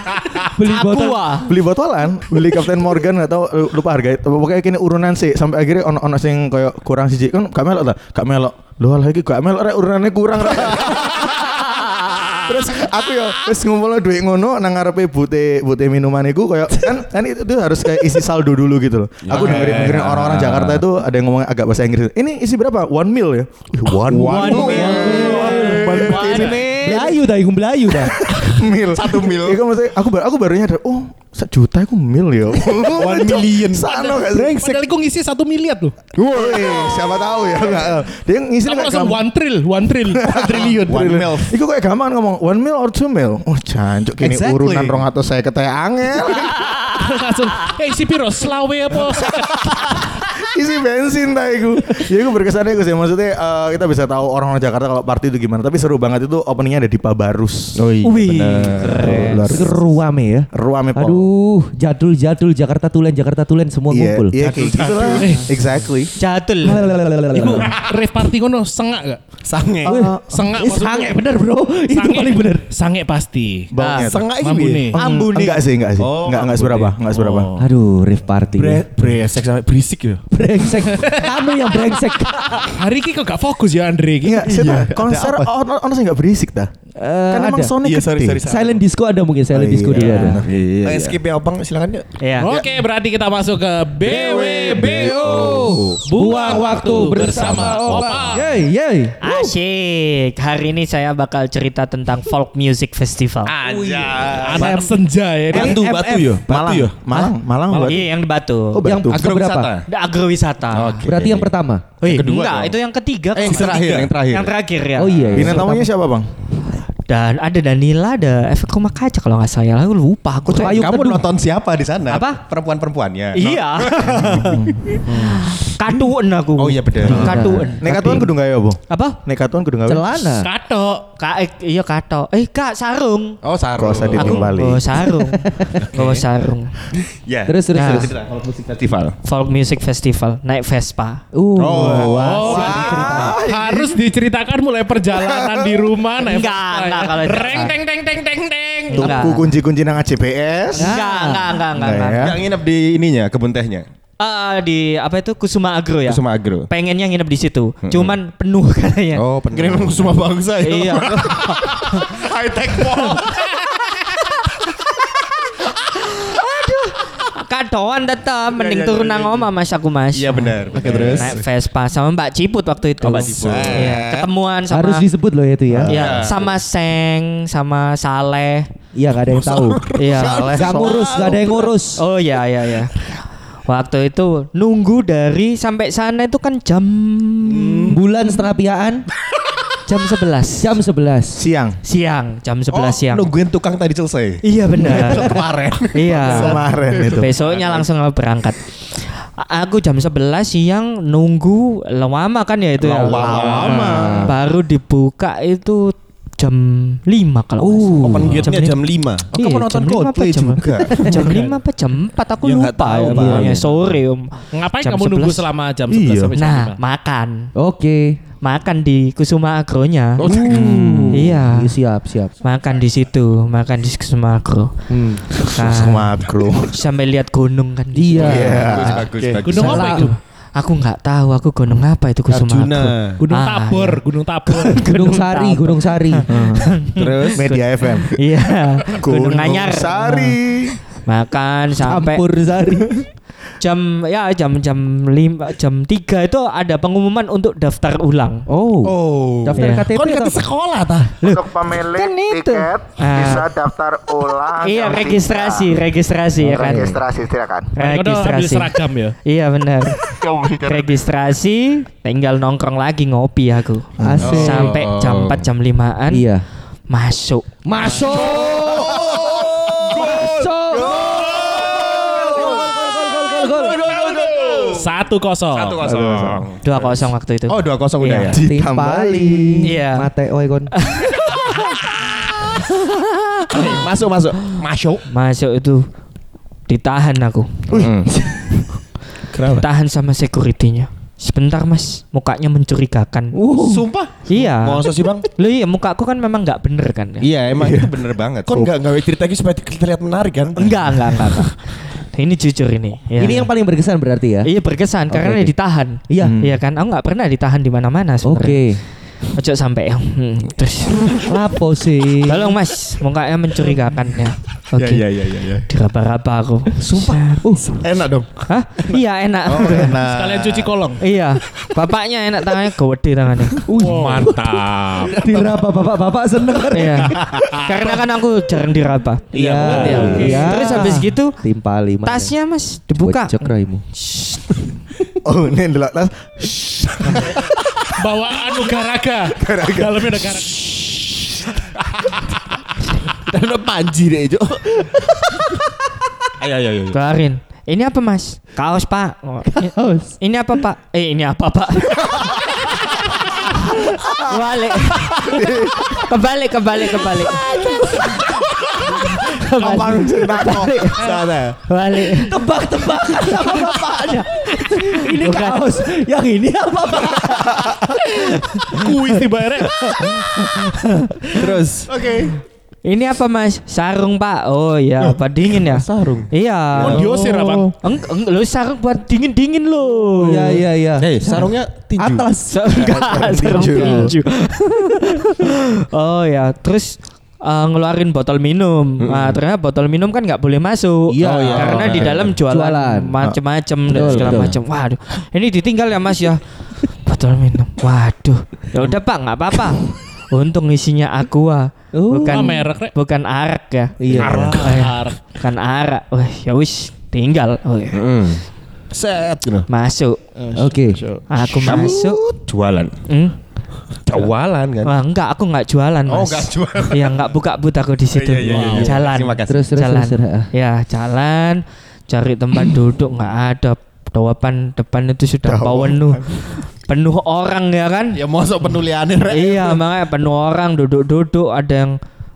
[SPEAKER 6] Beli botol.
[SPEAKER 1] Aqua.
[SPEAKER 2] beli botolan beli Captain Morgan atau lupa harga tapi pokoknya kini urunan sih sampai akhirnya ono ono sing koyo kurang siji kan gak melok ta gak melok lho lah iki gak melok rek urunannya kurang rek Terus aku ya terus ngumpul duit ngono nang ngarepe bute bute minuman iku koyo kan kan itu tuh harus kayak isi saldo dulu gitu loh. Aku dengerin dengerin orang-orang Jakarta itu ada yang ngomong agak bahasa Inggris. Ini isi berapa? One mil ya. Ih, One, one, mil. One
[SPEAKER 6] Belayu dah, ikut belayu dah.
[SPEAKER 2] mil. Iya, Satu mil. Iku maksudnya aku baru aku baru nyadar, oh sejuta aku mil ya. One million.
[SPEAKER 6] Iya,
[SPEAKER 2] Sano gak sih?
[SPEAKER 4] Padahal gue ngisi satu miliar loh.
[SPEAKER 2] Woi, siapa tahu ya. nggak, eh. Dia ngisi
[SPEAKER 4] Kamu
[SPEAKER 2] kayak
[SPEAKER 4] langsung
[SPEAKER 2] gampang.
[SPEAKER 4] one trill, one trill. iya.
[SPEAKER 2] triliun
[SPEAKER 5] One
[SPEAKER 2] triliun.
[SPEAKER 5] mil.
[SPEAKER 2] Iku kayak gampang ngomong one mil or two mil. Oh jancuk kini
[SPEAKER 5] Exactly.
[SPEAKER 2] urunan rong atau saya ketaya angel.
[SPEAKER 4] Terus langsung, eh si Piro, selawe apa?
[SPEAKER 2] Isi bensin ta iku. Ya iku berkesannya iku sih maksudnya eh, kita bisa tahu orang-orang Jakarta kalau party itu gimana. Tapi seru banget itu openingnya ada di Pabarus.
[SPEAKER 5] Oh iya.
[SPEAKER 6] Wih.
[SPEAKER 2] Luar
[SPEAKER 6] Ruame ya.
[SPEAKER 2] ruame pol.
[SPEAKER 6] Aduh, jadul jadul Jakarta Tulen Jakarta Tulen semua
[SPEAKER 2] Iya,
[SPEAKER 6] ngumpul.
[SPEAKER 2] iya kayak gitu lah. Exactly.
[SPEAKER 1] Catul.
[SPEAKER 4] Ibu, rave party kono sengak gak? Eh,
[SPEAKER 3] Sange.
[SPEAKER 2] Oh, iya.
[SPEAKER 4] Sengak
[SPEAKER 6] Ih,
[SPEAKER 4] maksudnya.
[SPEAKER 6] sange bener bro Itu
[SPEAKER 4] Sange.
[SPEAKER 6] paling bener
[SPEAKER 4] Sange pasti.
[SPEAKER 2] Baunya tuh.
[SPEAKER 3] Sengak
[SPEAKER 4] Mambu
[SPEAKER 3] itu
[SPEAKER 4] nih.
[SPEAKER 6] Ah.
[SPEAKER 3] ya?
[SPEAKER 2] Ambune. Oh, Enggak sih, enggak sih.
[SPEAKER 3] Oh,
[SPEAKER 2] Enggak enggak
[SPEAKER 3] ambune.
[SPEAKER 2] seberapa, enggak seberapa.
[SPEAKER 3] Oh.
[SPEAKER 6] Aduh rave party
[SPEAKER 3] Bre, bresek sampai berisik ya.
[SPEAKER 6] Brengsek Kamu yang brengsek
[SPEAKER 4] Hari ini kok gak fokus ya Andre? Ki?
[SPEAKER 2] Iya, saya tahu, konser ono ono sih enggak berisik ta.
[SPEAKER 6] Eh,
[SPEAKER 2] Kan emang
[SPEAKER 6] ada.
[SPEAKER 2] soundnya
[SPEAKER 3] Iya, sorry,
[SPEAKER 2] gede.
[SPEAKER 3] sorry, sorry.
[SPEAKER 6] Silent disco ada mungkin Silent
[SPEAKER 2] Oh,
[SPEAKER 6] disco
[SPEAKER 2] iya,
[SPEAKER 6] dulu ada
[SPEAKER 2] bener.
[SPEAKER 5] Iya.
[SPEAKER 3] Eh, skip ya Opang silakan yuk.
[SPEAKER 1] Iya.
[SPEAKER 4] Oke, berarti kita masuk ke BWBO. Buang waktu bersama Opa.
[SPEAKER 2] Iya.
[SPEAKER 6] Yeay yeay
[SPEAKER 1] Asyik. Hari ini saya bakal cerita tentang folk music festival.
[SPEAKER 5] Oh, iya.
[SPEAKER 4] Anak senja ya. ini.
[SPEAKER 2] Eh,
[SPEAKER 3] Batu, batu ya. Batu
[SPEAKER 2] Malang,
[SPEAKER 3] ya.
[SPEAKER 2] Malang, Malang buat.
[SPEAKER 1] Iya, yang di Batu.
[SPEAKER 2] Oh,
[SPEAKER 6] Yang
[SPEAKER 2] Batu.
[SPEAKER 6] keberapa?
[SPEAKER 1] Ada agrowisata.
[SPEAKER 6] Berarti yang pertama
[SPEAKER 5] Oh,
[SPEAKER 1] Wih,
[SPEAKER 5] kedua
[SPEAKER 1] enggak,
[SPEAKER 5] dong.
[SPEAKER 1] itu yang ketiga.
[SPEAKER 5] Eh, yang
[SPEAKER 1] kalau nggak
[SPEAKER 5] terakhir,
[SPEAKER 1] salah.
[SPEAKER 5] yang terakhir.
[SPEAKER 1] Yang terakhir ya.
[SPEAKER 6] Oh iya
[SPEAKER 2] Bintang tamunya siapa, Bang?
[SPEAKER 1] Dan ada Danila, ada efek rumah kaca kalau nggak saya Aku lupa. Aku tuh
[SPEAKER 6] Ayu
[SPEAKER 5] Kamu
[SPEAKER 6] Kedung.
[SPEAKER 5] nonton siapa di sana?
[SPEAKER 1] Apa?
[SPEAKER 5] Perempuan-perempuannya.
[SPEAKER 1] Iya. Katuen aku.
[SPEAKER 5] Oh iya, bener.
[SPEAKER 1] Katuen.
[SPEAKER 2] Nekatuan kudu enggak ya, Bu?
[SPEAKER 1] Apa?
[SPEAKER 2] Nekatuan kudu enggak.
[SPEAKER 6] Celana
[SPEAKER 4] Kato.
[SPEAKER 1] Kak, eh, iya kato. Eh kak sarung.
[SPEAKER 5] Oh Saro.
[SPEAKER 2] Kosa di
[SPEAKER 1] Aku
[SPEAKER 2] Bali.
[SPEAKER 1] bawa sarung. Bawa sarung.
[SPEAKER 5] Ya.
[SPEAKER 6] Terus terus
[SPEAKER 1] Nah.
[SPEAKER 6] terus
[SPEAKER 5] Kalau musik festival.
[SPEAKER 1] Folk Music Festival naik Vespa.
[SPEAKER 6] Uh,
[SPEAKER 4] Oh, harus diceritakan mulai perjalanan di rumah. nah,
[SPEAKER 1] Enggak,
[SPEAKER 4] Vespa,
[SPEAKER 1] enggak,
[SPEAKER 4] ya.
[SPEAKER 1] kalau di
[SPEAKER 4] Reng,
[SPEAKER 1] Vespa.
[SPEAKER 4] teng, teng, teng, teng, teng.
[SPEAKER 1] Enggak.
[SPEAKER 2] Aku kunci-kunci nang AJPS.
[SPEAKER 1] Enggak, enggak, enggak, enggak.
[SPEAKER 2] Enggak
[SPEAKER 1] enggak.
[SPEAKER 2] ya?
[SPEAKER 5] Yang nginep di ininya, kebun tehnya.
[SPEAKER 1] Ah, di apa itu Kusuma Agro ya?
[SPEAKER 5] Kusuma Agro.
[SPEAKER 1] Pengennya nginep di situ. Cuman penuh katanya.
[SPEAKER 5] Oh,
[SPEAKER 3] Kira
[SPEAKER 5] pengen
[SPEAKER 3] emang semua bangsa ya.
[SPEAKER 1] Iya.
[SPEAKER 3] High tech mall.
[SPEAKER 1] Katoan tetap mending turun nang oma Mas aku Mas.
[SPEAKER 5] Iya benar. Oke
[SPEAKER 1] Naik Vespa sama Mbak Ciput waktu itu.
[SPEAKER 5] Mbak Ciput.
[SPEAKER 1] Iya, ketemuan sama
[SPEAKER 6] Harus disebut loh itu ya
[SPEAKER 1] Iya, sama Seng, sama Saleh.
[SPEAKER 6] Iya gak ada yang tahu
[SPEAKER 1] Iya.
[SPEAKER 6] Gak ngurus Gak ada yang ngurus
[SPEAKER 1] Oh iya iya iya. Waktu itu nunggu dari sampai sana itu kan jam
[SPEAKER 6] Bulan setengah piaan
[SPEAKER 1] jam 11
[SPEAKER 6] Jam 11
[SPEAKER 2] Siang.
[SPEAKER 1] siang, jam 11
[SPEAKER 5] Oh,
[SPEAKER 1] siang.
[SPEAKER 5] Nungguin tukang tadi selesai.
[SPEAKER 1] Iya benar.
[SPEAKER 5] Kemarin.
[SPEAKER 1] iya.
[SPEAKER 2] Kemarin itu.
[SPEAKER 1] Besoknya langsung berangkat. A- Aku jam 11 siang nunggu lama kan ya itu ya.
[SPEAKER 2] Lama.
[SPEAKER 1] Baru dibuka itu jam 5 kalau nggak
[SPEAKER 5] Uh,
[SPEAKER 1] salah.
[SPEAKER 3] Open
[SPEAKER 1] Jam
[SPEAKER 3] gate-nya
[SPEAKER 1] lima.
[SPEAKER 3] jam 5.
[SPEAKER 1] Oh, kamu nonton Coldplay juga. Jam 5 apa jam 4 aku
[SPEAKER 3] Ya, nggak
[SPEAKER 1] lupa.
[SPEAKER 3] tahu,
[SPEAKER 1] ya,
[SPEAKER 3] Pak.
[SPEAKER 1] pokoknya. Sorry, Om.
[SPEAKER 4] Ngapain
[SPEAKER 1] Jam
[SPEAKER 4] kamu nunggu
[SPEAKER 1] 11?
[SPEAKER 4] selama jam
[SPEAKER 2] Iya.
[SPEAKER 4] 11 sampai jam
[SPEAKER 1] Nah,
[SPEAKER 4] 5?
[SPEAKER 1] makan.
[SPEAKER 6] Oke
[SPEAKER 1] Makan di Kusuma Agronya.
[SPEAKER 6] Iya
[SPEAKER 1] Iya.
[SPEAKER 6] Siap siap
[SPEAKER 1] Makan di situ, makan di Kusuma Agro. Nah,
[SPEAKER 2] Makro.
[SPEAKER 1] sampai lihat gunung kan. di situ.
[SPEAKER 6] Iya
[SPEAKER 5] Bagus, bagus, bagus.
[SPEAKER 4] Gunung apa
[SPEAKER 1] Salah.
[SPEAKER 4] itu?
[SPEAKER 1] Aku nggak tahu aku gunung apa itu Kusuma
[SPEAKER 3] Arjuna.
[SPEAKER 1] Agro.
[SPEAKER 4] Gunung
[SPEAKER 1] Ah,
[SPEAKER 4] Tabor, Gunung Tabor.
[SPEAKER 6] Gunung Sari,
[SPEAKER 1] Tabor.
[SPEAKER 6] Gunung Sari.
[SPEAKER 2] Terus media FM.
[SPEAKER 1] Iya, Gunung Anyar.
[SPEAKER 2] Sari.
[SPEAKER 1] Makan sampai
[SPEAKER 6] Campur Sari.
[SPEAKER 1] jam ya jam jam lima jam tiga itu ada pengumuman untuk daftar ulang.
[SPEAKER 6] Oh. Daftar
[SPEAKER 1] Iya.
[SPEAKER 6] KTP
[SPEAKER 4] Kon
[SPEAKER 6] atau
[SPEAKER 4] ngerti
[SPEAKER 6] apa?
[SPEAKER 4] sekolah tah.
[SPEAKER 8] Untuk pemilik
[SPEAKER 1] kan itu.
[SPEAKER 8] tiket bisa
[SPEAKER 1] Ah.
[SPEAKER 8] daftar ulang.
[SPEAKER 1] iya
[SPEAKER 8] jam
[SPEAKER 1] registrasi,
[SPEAKER 8] tiga.
[SPEAKER 1] registrasi ya kan.
[SPEAKER 8] Registrasi silakan.
[SPEAKER 4] Mereka udah ambil
[SPEAKER 1] Registrasi.
[SPEAKER 4] seragam ya.
[SPEAKER 1] Iya benar.
[SPEAKER 8] Kamu
[SPEAKER 1] Registrasi, tinggal nongkrong lagi ngopi aku.
[SPEAKER 6] Asik.
[SPEAKER 1] Sampai jam 4 jam 5-an.
[SPEAKER 6] Iya.
[SPEAKER 1] Masuk.
[SPEAKER 6] Masuk. Masuk. Gol, gol, gol, gol.
[SPEAKER 4] Satu kosong.
[SPEAKER 5] Satu kosong.
[SPEAKER 1] 2-0 waktu itu.
[SPEAKER 5] Oh dua kosong udah ya.
[SPEAKER 6] Tim Pali.
[SPEAKER 1] Iya.
[SPEAKER 6] Mate oi kon.
[SPEAKER 5] Masuk masuk.
[SPEAKER 4] Masuk.
[SPEAKER 1] Masuk itu ditahan aku.
[SPEAKER 3] Kenapa?
[SPEAKER 1] Tahan sama security-nya. Sebentar Mas, mukanya mencurigakan.
[SPEAKER 6] Uh.
[SPEAKER 5] Sumpah.
[SPEAKER 1] Iya.
[SPEAKER 3] Masa sih bang?
[SPEAKER 1] Lu iya mukaku kan memang nggak bener kan ya?
[SPEAKER 5] Iya emang itu bener banget.
[SPEAKER 3] Kon nggak nggak cerita lagi supaya terlihat menarik kan?
[SPEAKER 1] Enggak, enggak, enggak. enggak. ini jujur ini. Iya.
[SPEAKER 6] Ini yang paling berkesan berarti ya.
[SPEAKER 1] Iya berkesan
[SPEAKER 6] Oke,
[SPEAKER 1] karena
[SPEAKER 6] oke.
[SPEAKER 1] ditahan.
[SPEAKER 6] Iya.
[SPEAKER 1] Iya kan? Aku nggak pernah ditahan di mana-mana sebenarnya.
[SPEAKER 6] Oke.
[SPEAKER 1] Ojo sampai hmm, terus.
[SPEAKER 6] Lapo sih.
[SPEAKER 1] Tolong Mas, mukanya mencurigakan ya. Oke.
[SPEAKER 5] iya iya. iya.
[SPEAKER 1] Diraba-raba aku. Sumpah.
[SPEAKER 6] Uh.
[SPEAKER 5] Enak dong.
[SPEAKER 1] Hah? Iya enak.
[SPEAKER 5] Oh enak.
[SPEAKER 4] Kalian cuci kolong.
[SPEAKER 1] iya. Bapaknya enak tangannya gede tangannya.
[SPEAKER 4] Wow. Mantap.
[SPEAKER 6] Diraba bapak-bapak seneng
[SPEAKER 1] iya. Karena kan aku jarang diraba.
[SPEAKER 6] Iya. Iya.
[SPEAKER 1] Terus habis gitu
[SPEAKER 6] Tim Pali. Mate.
[SPEAKER 1] tasnya Mas dibuka.
[SPEAKER 6] Bocok raimu.
[SPEAKER 2] Oh, ini ndelok tas.
[SPEAKER 4] Bawa anu garaga. Dalamnya ada garaga.
[SPEAKER 3] Dan ada panji deh Jo. Ayo ayo ayo.
[SPEAKER 1] Keluarin. Ini apa Mas? Kaos Pak. Oh, i-
[SPEAKER 6] Kaos.
[SPEAKER 1] Ini apa Pak? Eh ini apa Pak? Balik. kebalik kebalik kebalik.
[SPEAKER 5] Abang cerita kok. Sana.
[SPEAKER 1] Balik.
[SPEAKER 6] Tebak-tebakan sama bapaknya. Ini kaos. Yang ini apa pak?
[SPEAKER 4] Kuis di bayarnya.
[SPEAKER 5] Terus. Oke.
[SPEAKER 1] Ini apa Mas? Sarung Pak. Oh iya, apa dingin ya?
[SPEAKER 6] Sarung.
[SPEAKER 1] Iya.
[SPEAKER 4] Oh, diusir abang.
[SPEAKER 1] Eng, eng, lo sarung buat dingin dingin lo.
[SPEAKER 6] Iya iya iya.
[SPEAKER 5] Hey,
[SPEAKER 1] Eh,
[SPEAKER 5] sarungnya tinju.
[SPEAKER 6] Atlas.
[SPEAKER 1] Enggak, sarung tinju. oh ya, terus eh, ngeluarin botol minum. Nah, ternyata botol minum kan nggak boleh masuk.
[SPEAKER 6] Hmm. Iya. Oh, iya.
[SPEAKER 1] Karena di dalam jualan,
[SPEAKER 6] Jualan.
[SPEAKER 1] macem-macem dan
[SPEAKER 6] Betul,
[SPEAKER 1] segala
[SPEAKER 6] betul.
[SPEAKER 1] macem. Waduh, ini ditinggal ya Mas ya. botol minum. Waduh. Ya udah Pak, nggak apa-apa. Untung isinya aqua.
[SPEAKER 6] Oh.
[SPEAKER 1] Bukan
[SPEAKER 4] Oh, merek, Rek.
[SPEAKER 1] bukan arak ya.
[SPEAKER 6] Iya.
[SPEAKER 1] Arak. Bukan arak. Wah, ya wis tinggal. Oh, iya.
[SPEAKER 6] Hmm.
[SPEAKER 5] Set. gitu.
[SPEAKER 1] Masuk.
[SPEAKER 6] Oke.
[SPEAKER 1] Aku masuk.
[SPEAKER 5] Jualan.
[SPEAKER 1] Hmm?
[SPEAKER 5] Jualan kan.
[SPEAKER 1] Wah, enggak, aku enggak jualan, Mas.
[SPEAKER 5] Oh, enggak jualan.
[SPEAKER 1] Iya, enggak buka but aku di situ.
[SPEAKER 5] Iya, iya, iya, iya.
[SPEAKER 1] Jalan.
[SPEAKER 5] Terima kasih.
[SPEAKER 6] Terus terus
[SPEAKER 1] jalan.
[SPEAKER 6] terus. terus.
[SPEAKER 1] Ya, jalan cari tempat duduk enggak ada. Depan depan itu sudah penuh. Penuh orang ya kan?
[SPEAKER 3] Ya masuk penuliannya Rek.
[SPEAKER 1] iya, makanya penuh orang duduk-duduk ada yang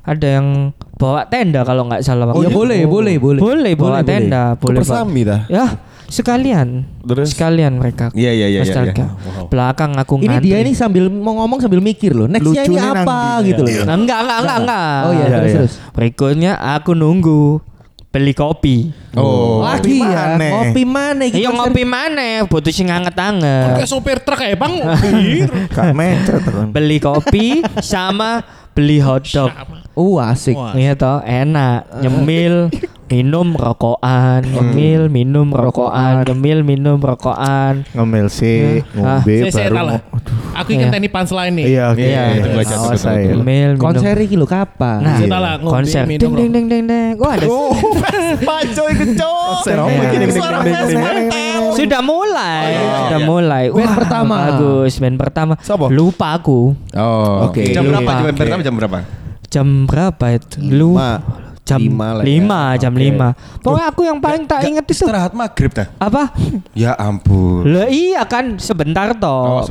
[SPEAKER 1] ada yang bawa tenda kalau enggak salah
[SPEAKER 6] Oh,
[SPEAKER 1] waktu
[SPEAKER 6] ya
[SPEAKER 1] itu.
[SPEAKER 6] boleh, boleh, boleh.
[SPEAKER 1] Boleh
[SPEAKER 6] Boleh,
[SPEAKER 1] bawa tenda, boleh. bawa-
[SPEAKER 5] Persami dah.
[SPEAKER 1] Ya, sekalian.
[SPEAKER 5] Terus?
[SPEAKER 1] Sekalian mereka.
[SPEAKER 5] Iya, iya, iya, iya,
[SPEAKER 1] Astaga.
[SPEAKER 5] iya.
[SPEAKER 1] Belakang aku
[SPEAKER 6] Ini
[SPEAKER 1] ngantri.
[SPEAKER 6] dia ini sambil mau ngomong sambil mikir loh. Nextnya ini
[SPEAKER 2] Lucunya
[SPEAKER 6] apa
[SPEAKER 2] nanti.
[SPEAKER 6] gitu loh.
[SPEAKER 1] Nah, enggak, enggak, enggak, enggak.
[SPEAKER 6] Oh iya,
[SPEAKER 2] Iya,
[SPEAKER 6] terus
[SPEAKER 2] iya.
[SPEAKER 6] terus.
[SPEAKER 1] Berikutnya aku nunggu beli kopi.
[SPEAKER 5] Oh.
[SPEAKER 6] Lagi ya,
[SPEAKER 2] maneh.
[SPEAKER 6] ngopi mana iki
[SPEAKER 1] Iya
[SPEAKER 6] konser?
[SPEAKER 1] ngopi mana? Butuh sing
[SPEAKER 4] Kayak
[SPEAKER 1] anget-anget.
[SPEAKER 4] sopir truk ya bang. Iya, Bir.
[SPEAKER 2] Gak mencet kan.
[SPEAKER 1] Beli kopi sama beli hotdog.
[SPEAKER 6] Uh asik.
[SPEAKER 1] Iya toh, enak. Nyemil, minum rokokan, nyemil, minum rokokan, nyemil, minum rokokan.
[SPEAKER 2] Ngemil sih,
[SPEAKER 1] Ah,
[SPEAKER 4] Saya
[SPEAKER 2] ngombe
[SPEAKER 4] ya, saya
[SPEAKER 2] baru.
[SPEAKER 4] tahu lah.
[SPEAKER 2] ngo- Aduh.
[SPEAKER 4] Aku ingin
[SPEAKER 1] Iya.
[SPEAKER 4] tani punchline nih.
[SPEAKER 2] Iya, oke.
[SPEAKER 5] Iya, itu gua catat,
[SPEAKER 2] Awas
[SPEAKER 5] betul,
[SPEAKER 2] saya.
[SPEAKER 5] betul.
[SPEAKER 1] Nyemil, minum.
[SPEAKER 6] Konser iki lho kapan?
[SPEAKER 1] Nah,
[SPEAKER 4] Saya tahu lah. ngombe,
[SPEAKER 1] konser.
[SPEAKER 4] minum, Oh,
[SPEAKER 1] Ding ding
[SPEAKER 4] rokok.
[SPEAKER 1] ding ding ding. Wah, ada.
[SPEAKER 5] Pacoy kecok.
[SPEAKER 2] Serong
[SPEAKER 1] Iya.
[SPEAKER 2] begini, begini,
[SPEAKER 5] Suara
[SPEAKER 2] begini,
[SPEAKER 5] Vespa.
[SPEAKER 2] begini.
[SPEAKER 1] Sudah mulai,
[SPEAKER 5] iya,
[SPEAKER 1] sudah
[SPEAKER 5] iya.
[SPEAKER 1] mulai.
[SPEAKER 6] Band
[SPEAKER 1] Wah,
[SPEAKER 6] pertama.
[SPEAKER 1] Bagus, band pertama.
[SPEAKER 5] Siapa?
[SPEAKER 1] Lupa aku.
[SPEAKER 5] Oh.
[SPEAKER 6] Oke.
[SPEAKER 5] Jam berapa?
[SPEAKER 1] Lupa.
[SPEAKER 5] Jam pertama jam berapa?
[SPEAKER 1] jam berapa itu? Lu
[SPEAKER 5] Lima.
[SPEAKER 1] jam
[SPEAKER 5] Lima
[SPEAKER 1] lima,
[SPEAKER 5] lah ya.
[SPEAKER 1] jam
[SPEAKER 5] Oke.
[SPEAKER 1] lima. Pokoknya aku yang paling tak inget itu
[SPEAKER 5] Ya, Istirahat maghrib dah.
[SPEAKER 1] apa?
[SPEAKER 5] Ya ampun.
[SPEAKER 1] Lah iya kan
[SPEAKER 5] Oh,
[SPEAKER 1] sebentar toh,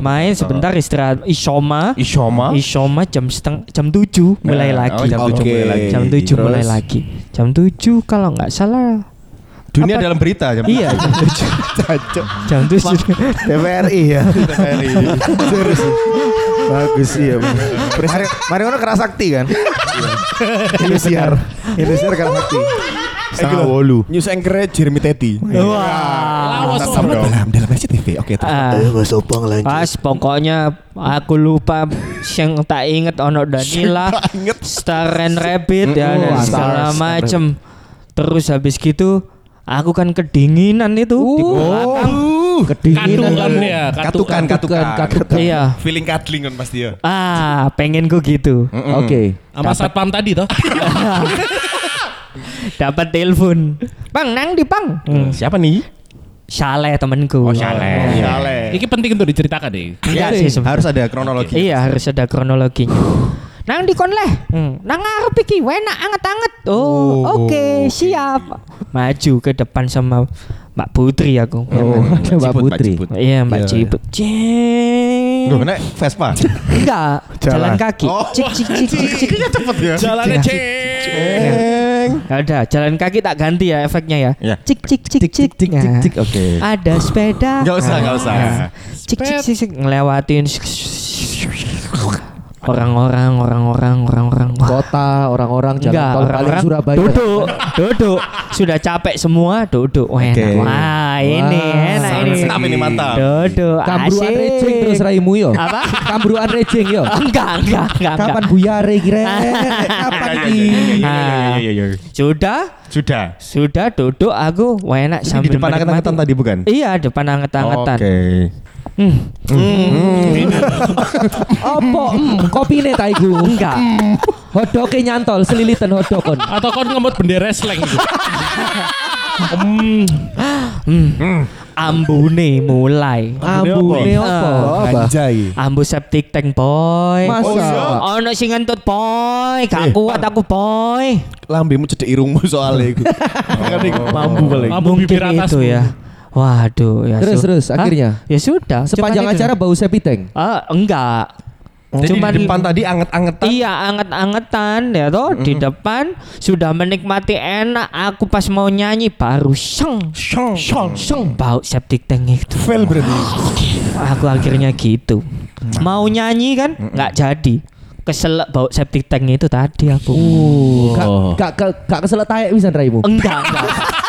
[SPEAKER 5] sebentar.
[SPEAKER 1] main sebentar istirahat. Isoma,
[SPEAKER 5] Isoma.
[SPEAKER 1] Isoma jam seteng jam tujuh mulai
[SPEAKER 5] Nah, oh,
[SPEAKER 1] lagi.
[SPEAKER 5] jam tujuh mulai lagi.
[SPEAKER 1] Jam tujuh mulai
[SPEAKER 5] Terus?
[SPEAKER 1] lagi. Jam tujuh kalau nggak salah.
[SPEAKER 5] Dunia
[SPEAKER 1] Apa?
[SPEAKER 5] dalam berita jam
[SPEAKER 1] Iya jam tujuh. jam tujuh.
[SPEAKER 2] TVRI ya.
[SPEAKER 5] Eh,
[SPEAKER 2] Serius. Bagus sih ya. Bang. Mari mari ono kerasakti kan. Indosiar. Indosiar kerasakti. Setengah wolu.
[SPEAKER 5] News anchor Jeremy Teti.
[SPEAKER 4] Lawas
[SPEAKER 1] Iya.
[SPEAKER 5] Atas
[SPEAKER 4] orang.
[SPEAKER 5] sama dalam dalam RCTV. Oke. terus.
[SPEAKER 1] Ah. Pas pokoknya aku lupa yang tak inget ono Danila, Star and Rabbit ya dan
[SPEAKER 6] Wah,
[SPEAKER 1] segala
[SPEAKER 6] Stars and
[SPEAKER 1] macem. Terus habis gitu Aku kan kedinginan itu di belakang.
[SPEAKER 6] Oh. Kedinginan
[SPEAKER 4] Katukan
[SPEAKER 6] kamu.
[SPEAKER 4] ya,
[SPEAKER 5] Katukan, katukan.
[SPEAKER 6] katukan.
[SPEAKER 1] Iya.
[SPEAKER 5] Feeling cuddling kan pasti ya.
[SPEAKER 1] Ah, pengen ku gitu.
[SPEAKER 6] Oke.
[SPEAKER 4] Sama satpam tadi toh.
[SPEAKER 1] Dapat telepon. Bang, nang di pang. Hmm.
[SPEAKER 5] Siapa nih?
[SPEAKER 1] Saleh temanku.
[SPEAKER 5] Oh, Syale. Syale.
[SPEAKER 1] Iya.
[SPEAKER 4] Iki penting untuk diceritakan deh.
[SPEAKER 5] Iya
[SPEAKER 1] Enggak
[SPEAKER 5] sih,
[SPEAKER 1] sih sebenarnya.
[SPEAKER 5] harus ada kronologi.
[SPEAKER 1] Iya, harus ada kronologinya. Nang di konleh, hmm. nang ngarep iki, enak anget-anget. Oh, oke, siap. Maju ke depan sama Mbak Putri aku.
[SPEAKER 6] Oh, ada Mbak
[SPEAKER 5] Ciput,
[SPEAKER 6] Putri.
[SPEAKER 5] Ciput.
[SPEAKER 1] Iya, Mbak Ciput. Ceng.
[SPEAKER 5] Loh, nek Vespa.
[SPEAKER 1] Enggak, jalan,
[SPEAKER 2] Jalan.
[SPEAKER 1] kaki. Cik cik cik cik cik.
[SPEAKER 5] cepet ya.
[SPEAKER 4] Jalannya
[SPEAKER 1] Iya.
[SPEAKER 4] ceng.
[SPEAKER 1] Ya udah, jalan kaki tak ganti ya efeknya ya.
[SPEAKER 5] Iya.
[SPEAKER 1] Cik cik cik cik cik. Nah,
[SPEAKER 6] Oke.
[SPEAKER 1] Ada sepeda. Nah,
[SPEAKER 5] Enggak usah, enggak usah.
[SPEAKER 1] Cik cik cik cik ngelewatin orang-orang orang-orang orang-orang. Wah,
[SPEAKER 6] Ah. Kota, orang-orang jalan
[SPEAKER 1] Enggak,
[SPEAKER 6] tol paling
[SPEAKER 1] orang-orang
[SPEAKER 6] Surabaya.
[SPEAKER 1] duduk, duduk. Sudah capek semua, duduk. Wah, enak.
[SPEAKER 5] Oke.
[SPEAKER 1] Wah, ini
[SPEAKER 6] Wah,
[SPEAKER 1] enak ini.
[SPEAKER 5] Mantap ini mantap.
[SPEAKER 1] Duduk.
[SPEAKER 6] Kambruan
[SPEAKER 1] asik.
[SPEAKER 6] rejing terus raimu yo.
[SPEAKER 1] Apa?
[SPEAKER 6] Kambruan rejing yo.
[SPEAKER 1] Enggak, enggak, enggak. enggak.
[SPEAKER 6] Kapan buyare kira?
[SPEAKER 5] Iya,
[SPEAKER 6] Kapan ki?
[SPEAKER 1] Ah, Sudah,
[SPEAKER 5] Sudah.
[SPEAKER 1] Sudah duduk aku wah enak
[SPEAKER 5] Ini di
[SPEAKER 1] sambil
[SPEAKER 5] depan
[SPEAKER 1] menikmati.
[SPEAKER 5] anget-angetan tadi bukan?
[SPEAKER 1] Iya depan anget-angetan
[SPEAKER 5] Oke.
[SPEAKER 1] Hmm,
[SPEAKER 6] Opo em, kopine ta iku? Enggak. Hodoke nyantol selilitan hodokon.
[SPEAKER 4] Atau kon ngemut bendera slang gitu.
[SPEAKER 1] Ambune mulai Eh,
[SPEAKER 6] Ambune opo?
[SPEAKER 1] Ah.
[SPEAKER 5] Anjay.
[SPEAKER 1] Ambu septic tank boy
[SPEAKER 6] Masa? Eh.
[SPEAKER 1] Ono sing ngentut boy Gak kuat aku boy
[SPEAKER 5] Lambemu cedek irungmu soalnya iku. Kan iku mambu paling.
[SPEAKER 4] Kamu
[SPEAKER 1] Mungkin
[SPEAKER 4] bibir atas
[SPEAKER 1] itu ya Waduh ya
[SPEAKER 6] Terus,
[SPEAKER 1] su-
[SPEAKER 6] terus,
[SPEAKER 1] Hah?
[SPEAKER 6] akhirnya?
[SPEAKER 1] Ya sudah
[SPEAKER 6] Sepanjang
[SPEAKER 1] cuman itu.
[SPEAKER 6] acara bau sepiteng.
[SPEAKER 1] Ah, Enggak
[SPEAKER 5] Oh, Jadi
[SPEAKER 1] Cuman-
[SPEAKER 5] di depan tadi anget-angetan.
[SPEAKER 1] Iya anget-angetan ya toh di depan sudah menikmati enak aku pas mau nyanyi baru seng seng seng seng bau septic tank itu
[SPEAKER 5] Fail berarti. Mm.
[SPEAKER 1] aku akhirnya gitu mau nyanyi kan nggak jadi keselak bau septic tank itu tadi aku
[SPEAKER 5] Uh.
[SPEAKER 6] Gak gak gak keselak taek bisa raimu.
[SPEAKER 1] enggak enggak